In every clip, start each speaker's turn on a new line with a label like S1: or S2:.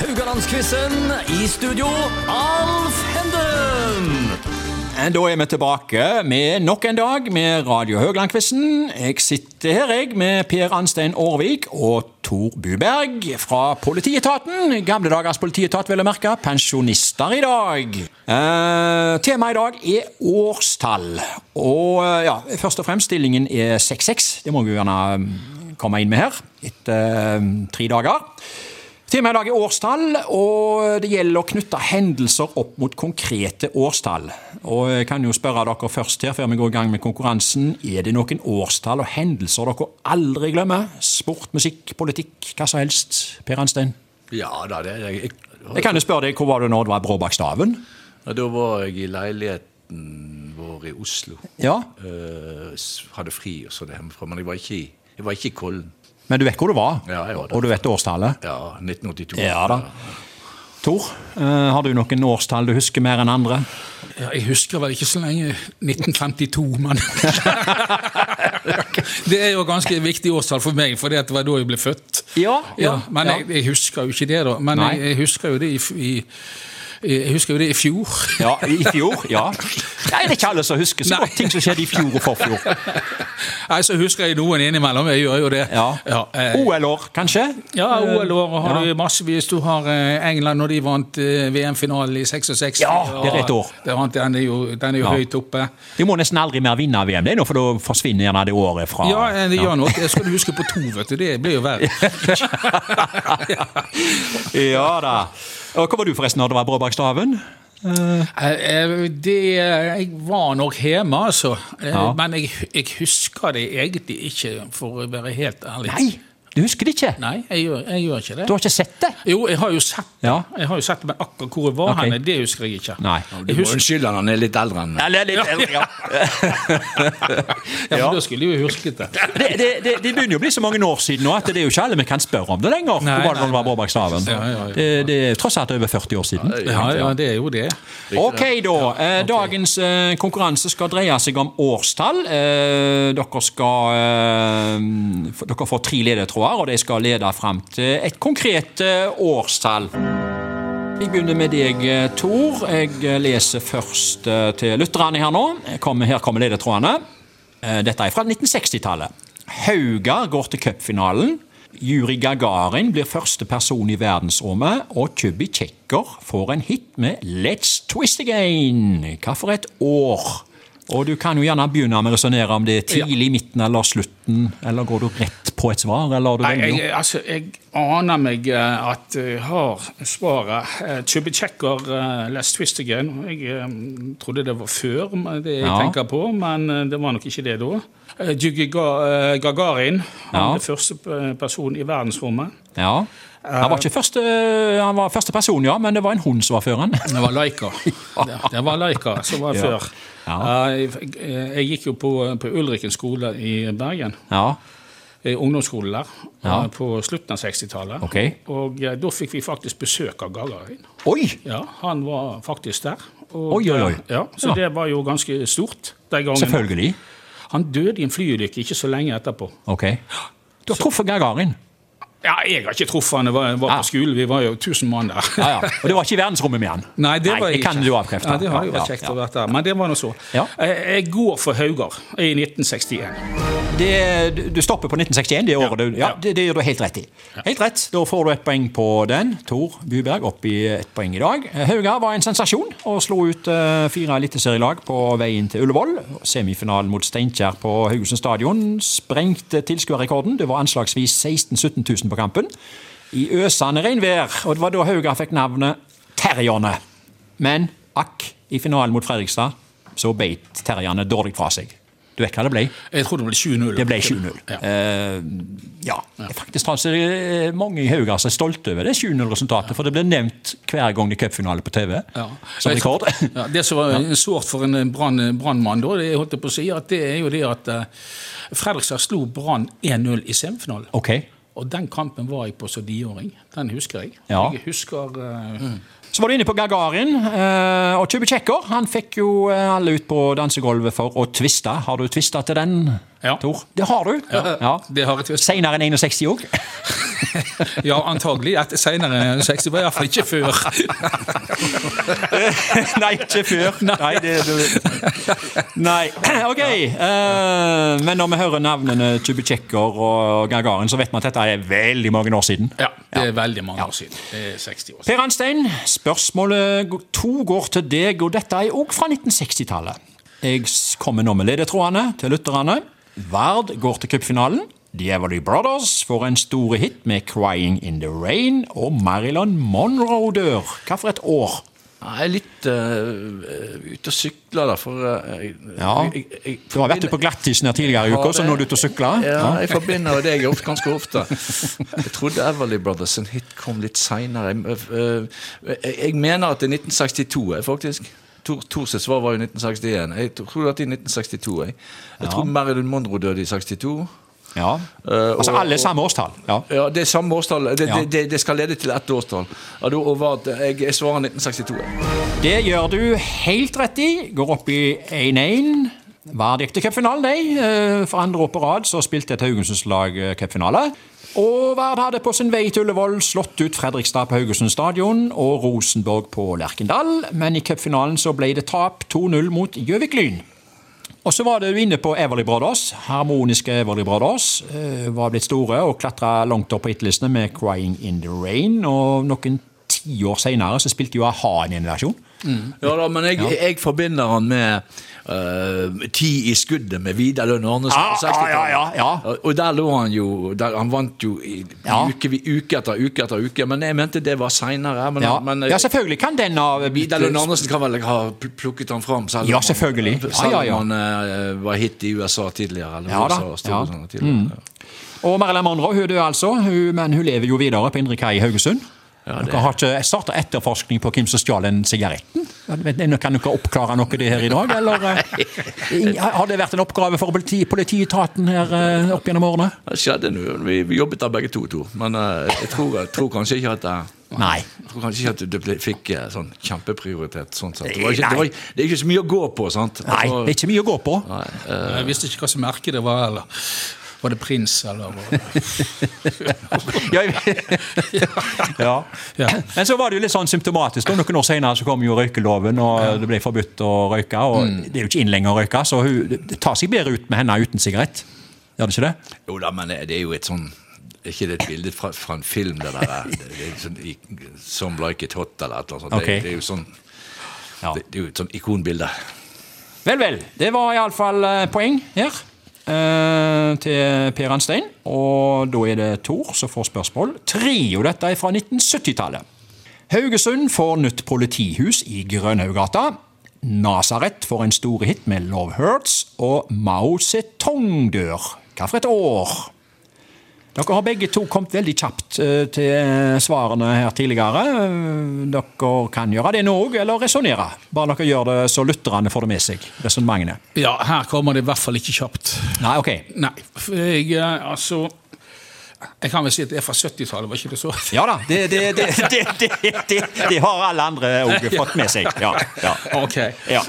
S1: Rogalandsquizen i studio, Alf Henden!
S2: Eh, Da er vi tilbake med nok en dag med Radio Haugland-quizen. Jeg sitter her jeg med Per Anstein Aarvik og Tor Buberg fra politietaten. Gamle dagers politietat, vil jeg merke. Pensjonister i dag. Eh, temaet i dag er årstall. Og eh, ja, først og fremst stillingen er 6-6. Det må vi jo gjerne eh, komme inn med her etter eh, tre dager. Temaet i dag er årstall, og det gjelder å knytte hendelser opp mot konkrete årstall. Og jeg kan jo spørre dere først her, før vi går i gang med konkurransen. Er det noen årstall og hendelser dere aldri glemmer? Sport, musikk, politikk, hva som helst? Per Anstein?
S3: Ja da, det jeg,
S2: Jeg kan jo spørre deg, hvor var du når det var Bråbakkstaven?
S3: ja, Da var jeg i leiligheten vår i Oslo.
S2: Ja,
S3: Eh, s- hadde fri og sånn hjemmefra, men jeg var ikke i, jeg var ikke i Kollen.
S2: men du vet hvor du var?
S3: Ja, jeg var der.
S2: Og du vet årstallet?
S3: Ja, 1982.
S2: Ja da. Tor, eh, har du noen årstall du husker mer enn andre?
S4: Ja, jeg husker vel ikke så lenge 1952, men Det er jo et ganske viktig årstall for meg, for det var da jeg ble født.
S2: Ja, ja,
S4: men
S2: ja.
S4: Jeg, jeg husker jo ikke det, da. Men
S2: Nei.
S4: jeg, jeg husker jo det i, f- i jeg husker jo det i fjor.
S2: Ja, i fjor, ja. Nei, det er ikke alle som husker så
S4: Nei.
S2: godt ting som skjedde i fjor og forfjor.
S4: Nei, så husker jeg noen innimellom. Jeg gjør jo det.
S2: Ja.
S4: eh,
S2: OL-år, kanskje?
S4: ja OL-året har
S2: Ja.
S4: du massevis. Du har eh, England når de vant eh, VM-finalen i 66.
S2: Ja, det er rett år.
S4: Ja, Den er jo, den er jo
S2: Ja.
S4: høyt oppe.
S2: De må nesten aldri mer vinne VM, det er nå, for da forsvinner gjerne det året fra
S4: Ja, eh, det gjør noe. Jeg skulle huske på to, vet du. Det blir jo verre.
S2: Ja da. Og Hvor var du forresten når det var Bråbakkstaven?
S4: Eh, eh, Det, jeg var nok hjemme, altså. Eh,
S2: Ja.
S4: Men jeg, jeg husker det egentlig ikke, for å være helt ærlig.
S2: Nei, du husker det ikke?
S4: Nei, jeg gjør, jeg gjør ikke det.
S2: Du har ikke sett det?
S4: Jo, jeg har jo sett det,
S2: Ja.
S4: Jeg har jo sett det, men akkurat hvor jeg var
S2: Ok.
S4: henne, det husker jeg ikke.
S2: Nei.
S3: Du
S4: Jeg
S3: må
S4: husker,
S3: unnskylde han, han er litt eldre enn meg.
S2: Eller litt eldre, ja.
S4: ja, men
S2: Ja.
S4: Da skulle jeg jo husket det.
S2: Det, det, det, det begynner jo å bli så mange år siden nå at det er jo ikke alle vi kan spørre om det lenger.
S4: Nei,
S2: Hvor var det når det
S4: nei,
S2: var Bråbakkstaven?
S4: Ja, ja, ja.
S2: Det, det er tross alt over 40 år siden.
S4: Ja, ja, det er jo det.
S2: Ok, da. Eh, Dagens eh, konkurranse skal dreie seg om årstall. Eh, dere skal eh, f- Dere får tre ledetråder, og de skal lede fram til et konkret eh, årstall. Vi begynner med deg, eh, Tor. Jeg eh, leser først eh, til lytterne her nå. Jeg Kommer, her kommer ledetrådene. Eh, dette er fra 1960-tallet. Hauga går til cupfinalen. Juri Gagarin blir første person i verdensrommet. Og Chubby Checker får en hit med Let's Twist Again. Hva for et år? Og du kan jo gjerne begynne med å resonnere om det er tidlig, midten eller slutten. Eller går du rett på et svar? Eller du
S4: Nei,
S2: velger?
S4: jeg, altså, jeg aner meg eh, at jeg har svaret. Eh, Chubby Checker, eh, Let's Twist Again. Jeg eh, trodde det var før men det jeg
S2: Ja.
S4: tenker på, men eh, det var nok ikke det da. Eh, Yugi Ga eh, Gagarin, han
S2: Ja.
S4: er første eh, person i verdensrommet.
S2: Ja. Han var ikke første, eh, han var første person, ja, men det var en hund som var før han.
S4: Det var Laika. Det, det var Laika som var
S2: Ja.
S4: før. Eh, Jeg, jeg gikk jo på, eh, på Ulriken skole i Bergen.
S2: Ja,
S4: eh, ungdomsskolen der
S2: Ja.
S4: eh, på slutten av 60-tallet.
S2: Ok.
S4: Og eh, da fikk vi faktisk besøk av Gagarin.
S2: Oi!
S4: Ja, Han var faktisk der. Og,
S2: Oi, oi, oi.
S4: eh, Ja, så
S2: Ja.
S4: det var jo ganske stort den gangen.
S2: Selvfølgelig.
S4: Han døde i en flyulykke ikke så lenge etterpå.
S2: Ok. Du har truffet Gagarin.
S4: Ja, Jeg har ikke truffet han, jeg var, jeg var
S2: Ah.
S4: på skolen, vi var jo tusen mann der.
S2: Ja, ja. Og det var ikke i verdensrommet med han.
S4: Nei, det var jeg
S2: kan
S4: ikke.
S2: du avkrefte.
S4: Ja, det har jo
S2: Ja,
S4: vært kjekt
S2: ja,
S4: å være der, men det var nå så.
S2: Ja.
S4: Eh, Jeg går for Haugar i 1961.
S2: ja. Det, du stopper på 1961, det året du Ja,
S4: ja.
S2: det, det gjør du helt rett i. Helt rett. Da får du et poeng på den. Tor Buberg opp i et poeng i dag. Hauga var en sensasjon og slo ut eh, fire eliteserielag på veien til Ullevål. Semifinalen mot Steinkjer på Haugesund stadion sprengte tilskuerrekorden. Det var anslagsvis 16 000-17 000 på kampen. I øsende regnvær. Og det var da Hauga fikk navnet Terrierne. Men akk, i finalen mot Fredrikstad så beit Terrierne dårlig fra seg. Du vet hva det ble?
S4: Jeg tror det ble 7-0.
S2: Det ble 7-0.
S4: Ja.
S2: Eh, ja. Det er Faktisk altså, det er mange i Haugas som er stolte over det 7-0-resultatet, for det blir nevnt hver gang det er cupfinale på TV
S4: Ja.
S2: som
S4: Jeg-
S2: rekord.
S4: Ja, det som var sårt for en brann- brannmann, da, det holdt jeg på å si, at det er jo det at eh, Fredrikstad slo Brann 1-0 i semifinalen.
S2: Ok.
S4: Og den kampen var jeg på som niåring. Den husker jeg.
S2: Ja.
S4: Jeg husker eh,
S2: Så var du inne på Gagarin. eh, Og Tjubbe Kjekker han fikk jo eh, alle ut på dansegulvet for å tviste. Har du tvista til den,
S4: Ja.
S2: Tor? Det har du. Ja.
S4: Det har jeg til å si.
S2: Seinere enn 61 òg.
S4: Ja, antagelig. Etter senere enn 60, men iallfall ikke før.
S2: Nei, ikke før. Nei, det, det. Nei. OK. eh, men når vi hører navnene Tjubbe Kjekker og Gagarin, så vet vi at dette er veldig mange år siden.
S4: Ja, det er veldig mange år siden. Det er 60 år siden.
S2: Per Anstein, spørsmålet g- to går til deg, og dette er òg fra 1960-tallet. Jeg s- kommer nå med ledetrådene til lytterne. Vard går til cupfinalen. Diavoli Brothers får en stor hit med 'Crying in the Rain', og Marilyn Monroe dør. Hva for et år?
S3: Jeg er litt eh, ute og sykler, da, for eh, jeg,
S2: Ja.
S3: jeg, jeg-
S2: Du har vært ute på glattisen her tidligere i uka, så nå er du ute og sykler?
S3: Ja, jeg forbinder deg ofte, ganske ofte. Jeg trodde Everly Brothers sin hit kom litt seinere. Jeg, eh, eh, jeg mener at det er 1962, jeg, faktisk. Tor, Torses svar var jo 1961. Jeg tror at det er 1962. Jeg, jeg tror Marilyn Monroe døde i 62.
S2: Ja.
S3: Eh,
S2: Altså
S3: og-
S2: alle samme årstall. Ja.
S3: Ja, det er samme årstall. Det,
S2: Ja.
S3: det, det, det skal lede til ett årstall. Ja, da, og var at jeg, jeg svarer 1962. jeg.
S2: Det gjør du helt rett i. Går opp i 1-1. Vard gikk til cupfinalen, de. Eh, For andre år på rad så spilte et Haugesunds lag eh, cupfinale. Og Vard hadde på sin vei til Ullevål slått ut Fredrikstad på Haugesund stadion og Rosenborg på Lerkendal, men i cupfinalen så ble det tap 2-0 mot Gjøvik Lyn. Og så var det jo inne på Everly Brothers. Harmoniske Everly Brothers eh, var blitt store og klatra langt opp på hitlistene med 'Crying in the Rain'. Og noen tiår seinere så spilte jo a-ha en innovasjon.
S3: Ja da, men jeg, jeg forbinder han med eh, Ti i skuddet med Vidar Lønn Arnesen.
S2: Ja,
S3: på
S2: Ah,
S3: 60-tallet.
S2: ja, ja, ja.
S3: Og- Og der lå han jo der, Han vant jo i
S2: Ja.
S3: uke, uke etter uke etter uke, men jeg mente det var seinere. Men,
S2: Ja.
S3: men eh,
S2: ja, selvfølgelig kan den ha eh,
S3: Vidar Lønn Arnesen kan vel ha pl- plukket han fram? Selv om
S2: Ja, selvfølgelig.
S3: Han,
S2: Ja, ja, ja.
S3: Selv om han eh, var hit i USA tidligere. Eller
S2: Ja da,
S3: USA, Storbritannia
S2: ja. Mm.
S3: tidligere.
S2: Og Marilyn Monroe hun dør altså, hun, men hun lever jo videre på Indre Kai i Haugesund. Dere har ikke starta etterforskning på hvem som stjal den sigaretten? Men eh, Kan dere oppklare noe det her i dag, eller? eh, Har det vært en oppgave for politi, politietaten her eh, opp gjennom årene?
S3: Det skjedde nå. Vi, vi jobbet der begge to, to. men eh, jeg tror, jeg tror kanskje ikke at jeg
S2: Nei.
S3: Jeg tror kanskje ikke at det ble, fikk eh, sånn kjempeprioritet. sånn sett. Det, var ikke, det, var, det er ikke så mye å gå på, sant? Altså,
S2: Nei, det er ikke mye å gå på.
S4: Jeg visste ikke hva som merke det var, eller var det prins, eller
S2: Ja, jeg- ja.
S4: Ja.
S2: Men så var det jo litt sånn symptomatisk. og Noen år senere så kom jo røykeloven, og det ble forbudt å røyke. og Det er jo ikke inn lenger å røyke, så hun, det tar seg bedre ut med henne uten sigarett. Gjør det ikke det?
S3: Jo da, men det er jo et sånn er ikke det et bilde fra, fra en film, det der? eh, Det er sånn, i- Some like it hot, eller et eller annet sånt.
S2: Ok.
S3: Det, det er jo sånn,
S2: Ja.
S3: det, det er jo et sånn ikonbilde.
S2: Vel, vel. Det var iallfall poeng her eh, til Per Anstein. Og da er det Tor som får spørsmål tre, og dette er fra 1970-tallet. Haugesund får nytt politihus i Grønhaugata. Nasaret får en stor hit med 'Love Hurts', og Mao Zedong dør. Hva for et år? Dere har begge to kommet veldig kjapt eh, til svarene her tidligere. Eh, Dere kan gjøre det nå òg, eller resonnere. Bare dere gjør det så lytterne får det med seg. Resonnementene.
S4: Ja, her kommer det i hvert fall ikke kjapt.
S2: Nei, ok.
S4: Nei, for jeg, eh, altså Jeg kan vel si at det er fra 70-tallet, var ikke det så?
S2: Ja da, det, det, det, det, det, det, det har alle andre òg fått med seg. Ja, ja.
S4: Ok.
S2: Ja.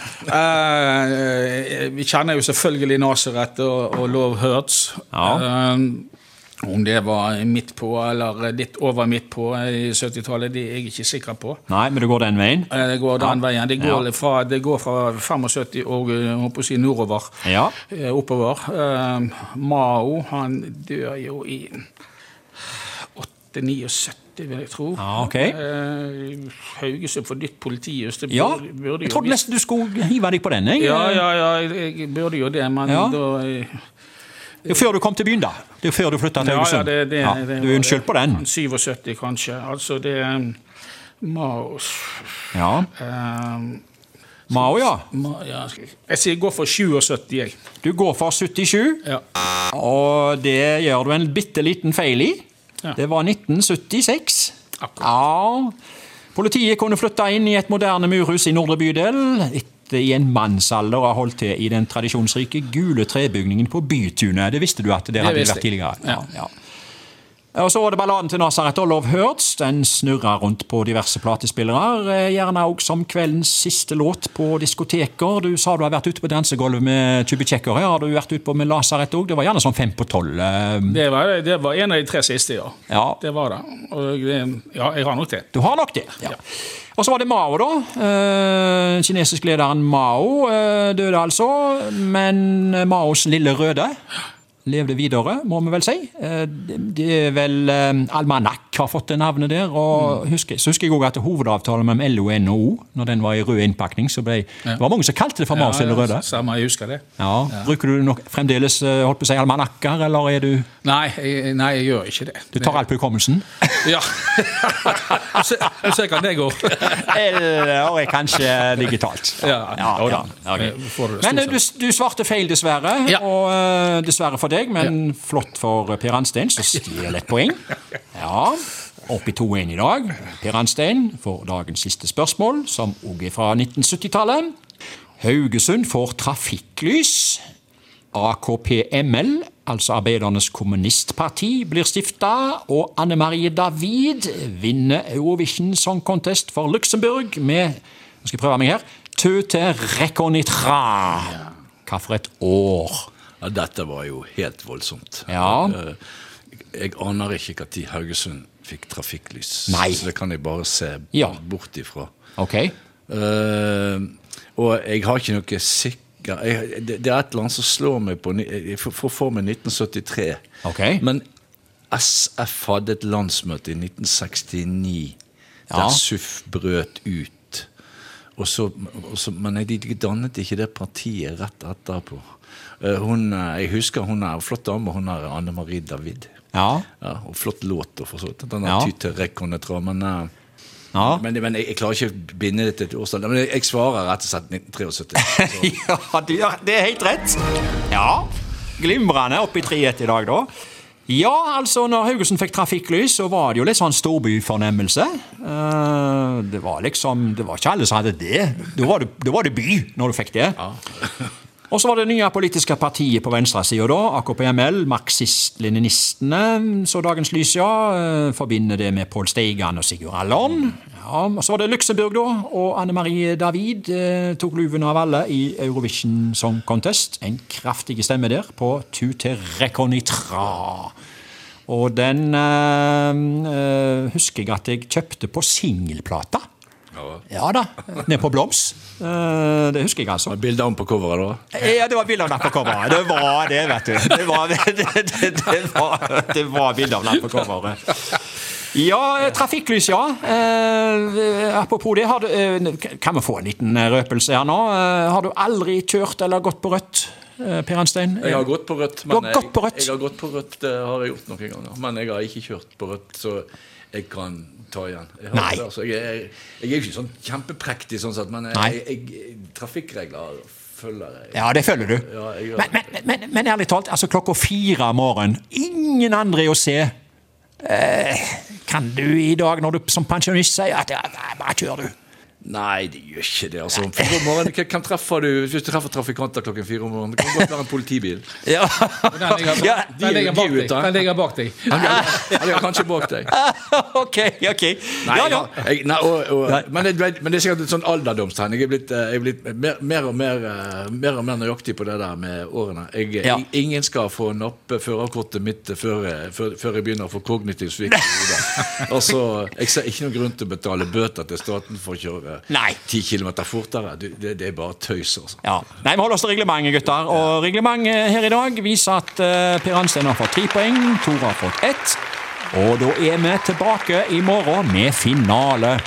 S4: Eh, vi kjenner jo selvfølgelig Nasaret og, og Love Hurts.
S2: Ja.
S4: Eh, om det var midt på eller litt over midt på i 70-tallet, det er jeg ikke sikker på.
S2: Nei, men det går den veien?
S4: Eh, Det går den veien. Det går,
S2: Ja.
S4: fra, det går fra 75 og eh, holdt på å si nordover.
S2: Ja.
S4: eh, Oppover. Eh, Mao, han dør jo i 8-79, vil jeg tro.
S2: Ja, ok.
S4: Eh, Haugesund får nytt politihus. Det
S2: Ja,
S4: burde- burde
S2: jeg
S4: jo
S2: trodde
S4: visst-
S2: nesten du skulle hive deg på den. Jeg.
S4: Ja, ja, ja, jeg, jeg burde jo det, men
S2: Ja.
S4: da eh,
S2: Det er jo før du kom til byen, da. Det er jo før du flytta til
S4: Ja, ja,
S2: Haugesund.
S4: det, det, det,
S2: du er unnskyld på den.
S4: 77, kanskje. Altså, det eh, Mao
S2: Ja.
S4: eh,
S2: Mao, ja.
S4: Ma- ja, skal jeg- Jeg sier gå for 77, jeg.
S2: Du går for 77.
S4: Ja.
S2: Og det gjør du en bitte liten feil i.
S4: Ja.
S2: Det var 1976.
S4: Akkurat.
S2: Ja. Politiet kunne flytte inn i et moderne murhus i Nordre bydel. Etter i en mannsalder har holdt til i den tradisjonsrike gule trebygningen på Bytunet. Det visste du at det hadde
S4: visste
S2: vært
S4: jeg.
S2: tidligere. Ja, ja. Og så var det balladen til Nazareth og Love Hurts. Den snurra rundt på diverse platespillere. eh, Gjerne òg som kveldens siste låt på diskoteker. Du sa du har vært ute på dansegulvet med Tjubitsjekker. Har du vært ute på med Lazareth òg? Det var gjerne sånn fem på tolv. eh,
S4: Det var, det var en av de tre siste, ja.
S2: Ja.
S4: Det var det. Og det, ja, jeg har nok det.
S2: Du har nok det. ja. Og så var det Mao, da. Eh, Den kinesiske lederen Mao eh, døde altså. Men eh, Maos lille røde levde videre, må vi vel si. Eh, Det det er vel eh, Almanak har fått det navnet der.
S4: Mm.
S2: og husker, Så husker jeg også at hovedavtalen mellom LO og NHO, når den var i rød innpakning, så ble Det var mange som kalte det for Maos lille røde.
S4: Samme, jeg husker det.
S2: Ja. Bruker du nok fremdeles eh, holdt på å si almanakker, eller er du
S4: Nei, jeg, nei, jeg gjør ikke det.
S2: Du tar alt på hukommelsen?
S4: Ja. Se se hvordan det går.
S2: Eller kanskje digitalt.
S4: Ja, jo da.
S2: ok.
S4: Eh, får du det
S2: Men
S4: stort
S2: eh, du, du svarte feil, dessverre.
S4: Ja.
S2: Og eh, dessverre for deg, men flott for eh, Per Anstein, som stjeler et poeng. Ja, opp i 2-1 i dag. Per Anstein får dagens siste spørsmål, som òg er fra 1970-tallet. Haugesund får trafikklys. AKP-ML, altså Arbeidernes Kommunistparti, blir stifta, og Anne Marie David vinner Eurovision Song Contest for Luxembourg med Nå skal jeg prøve meg her. Tøte reconitra. Hva for et år?
S3: Ja, dette var jo helt voldsomt.
S2: Ja.
S3: Eh, Jeg aner ikke når Haugesund fikk trafikklys,
S2: Nei.
S3: så det kan jeg bare se
S2: Ja.
S3: bort ifra.
S2: Ok.
S3: Eh, og jeg har ikke noe sikker jeg, det, det er et eller annet som slår meg på ni- Jeg får får for meg 1973.
S2: Ok.
S3: Men SF hadde et landsmøte i 1969
S2: Ja.
S3: der SUF brøt ut. Og så, og så, men de dannet ikke det partiet rett etterpå. Eh, Hun, eh, jeg husker hun er en flott dame, hun er Anne Marie David.
S2: Ja.
S3: Ja, og flott låt, og for så vidt. Den
S2: Ja.
S3: har ty til rekonnetra, men eh,
S2: ja.
S3: men, men jeg, jeg klarer ikke å binde det til et årstall. Men jeg, jeg svarer rett og slett 1973. Så.
S2: Ja, du, ja, det er helt rett. Ja, glimrende oppe i 3-1 i dag, da. Ja, altså, når Haugesund fikk trafikklys, så var det jo litt sånn storbyfornemmelse. Eh, det var liksom Det var ikke alle som hadde det. Da var det, da var det by når du fikk det. Og så var det nye politiske partiet på venstresida, da. AKP-ML, marxist-leninistene. Så dagens lys, ja. eh, Forbinder det med Pål Steigan og Sigurd Allon. Ja, og så var det Luxembourg, da. Og Anne Marie David eh, tok luven av alle i Eurovision Song Contest. En kraftig stemme der på Tu te reconitra. Og den eh, eh, husker jeg at jeg kjøpte på singelplata. Ja da. Ned på Bloms. Eh, det husker jeg, altså.
S3: Men Bildet av ham på coveret, da?
S2: Ja, det var bilde av napp på coveret. Det var det, vet du. Det var, det, det, det var, det var bilde av napp på coveret. Ja, eh, trafikklys, ja. Eh, apropos det, har du, eh, kan vi få en liten eh, røpelse her nå? Eh, har du aldri kjørt eller gått på rødt, eh, Per Anstein?
S3: Jeg har gått på rødt.
S2: Du har
S3: jeg,
S2: gått på rødt?
S3: jeg har gått på rødt, det har jeg gjort noen ganger. Men jeg har ikke kjørt på rødt, så jeg kan ta igjen. Jeg, har
S2: Nei.
S3: det, altså. jeg, jeg, jeg er jo ikke sånn kjempeprektig, sånn sett, men
S2: Nei.
S3: jeg, jeg, trafikkregler følger jeg.
S2: Ja, det føler du.
S3: Ja, jeg gjør
S2: men, men, men, men ærlig talt, altså klokka fire om morgenen, ingen andre er å se. Eh, kan du i dag, når du som pensjonist sier at ja, nei, bare kjør, du.
S3: Nei, det gjør ikke det. altså. For om morgenen, hva- Hvem treffer du hvis du treffer trafikanter klokken fire om morgenen? Det kan godt være en politibil.
S4: Den ligger,
S2: Ja,
S3: de-
S4: den ligger bak
S3: de
S4: deg.
S3: ute.
S4: Den ligger bak deg.
S3: Eller kanskje bak deg.
S2: ok, ok.
S3: Nei,
S2: ja, ja.
S3: Jeg, nei, og, og, Men, det, men det er sikkert et sånn alderdomstegn. Jeg er blitt, eh, jeg er blitt mer, mer, og mer, eh, mer og mer nøyaktig på det der med årene. Jeg,
S2: Ja.
S3: i- Ingen skal få nappe førerkortet mitt før, jeg- før, før jeg begynner å få kognitiv svikt i hodet. Altså, jeg ser ikke noen grunn til å betale bøter til staten for å kjøre
S2: Nei.
S3: 10 km fortere. Du, det, det er bare tøys, altså.
S2: Ja. Nei, Vi holder oss til reglementet, gutter. Og reglementet her i dag viser at eh, Per Anstein har fått tre poeng, Tore har fått ett. Og da er vi tilbake i morgen med finale.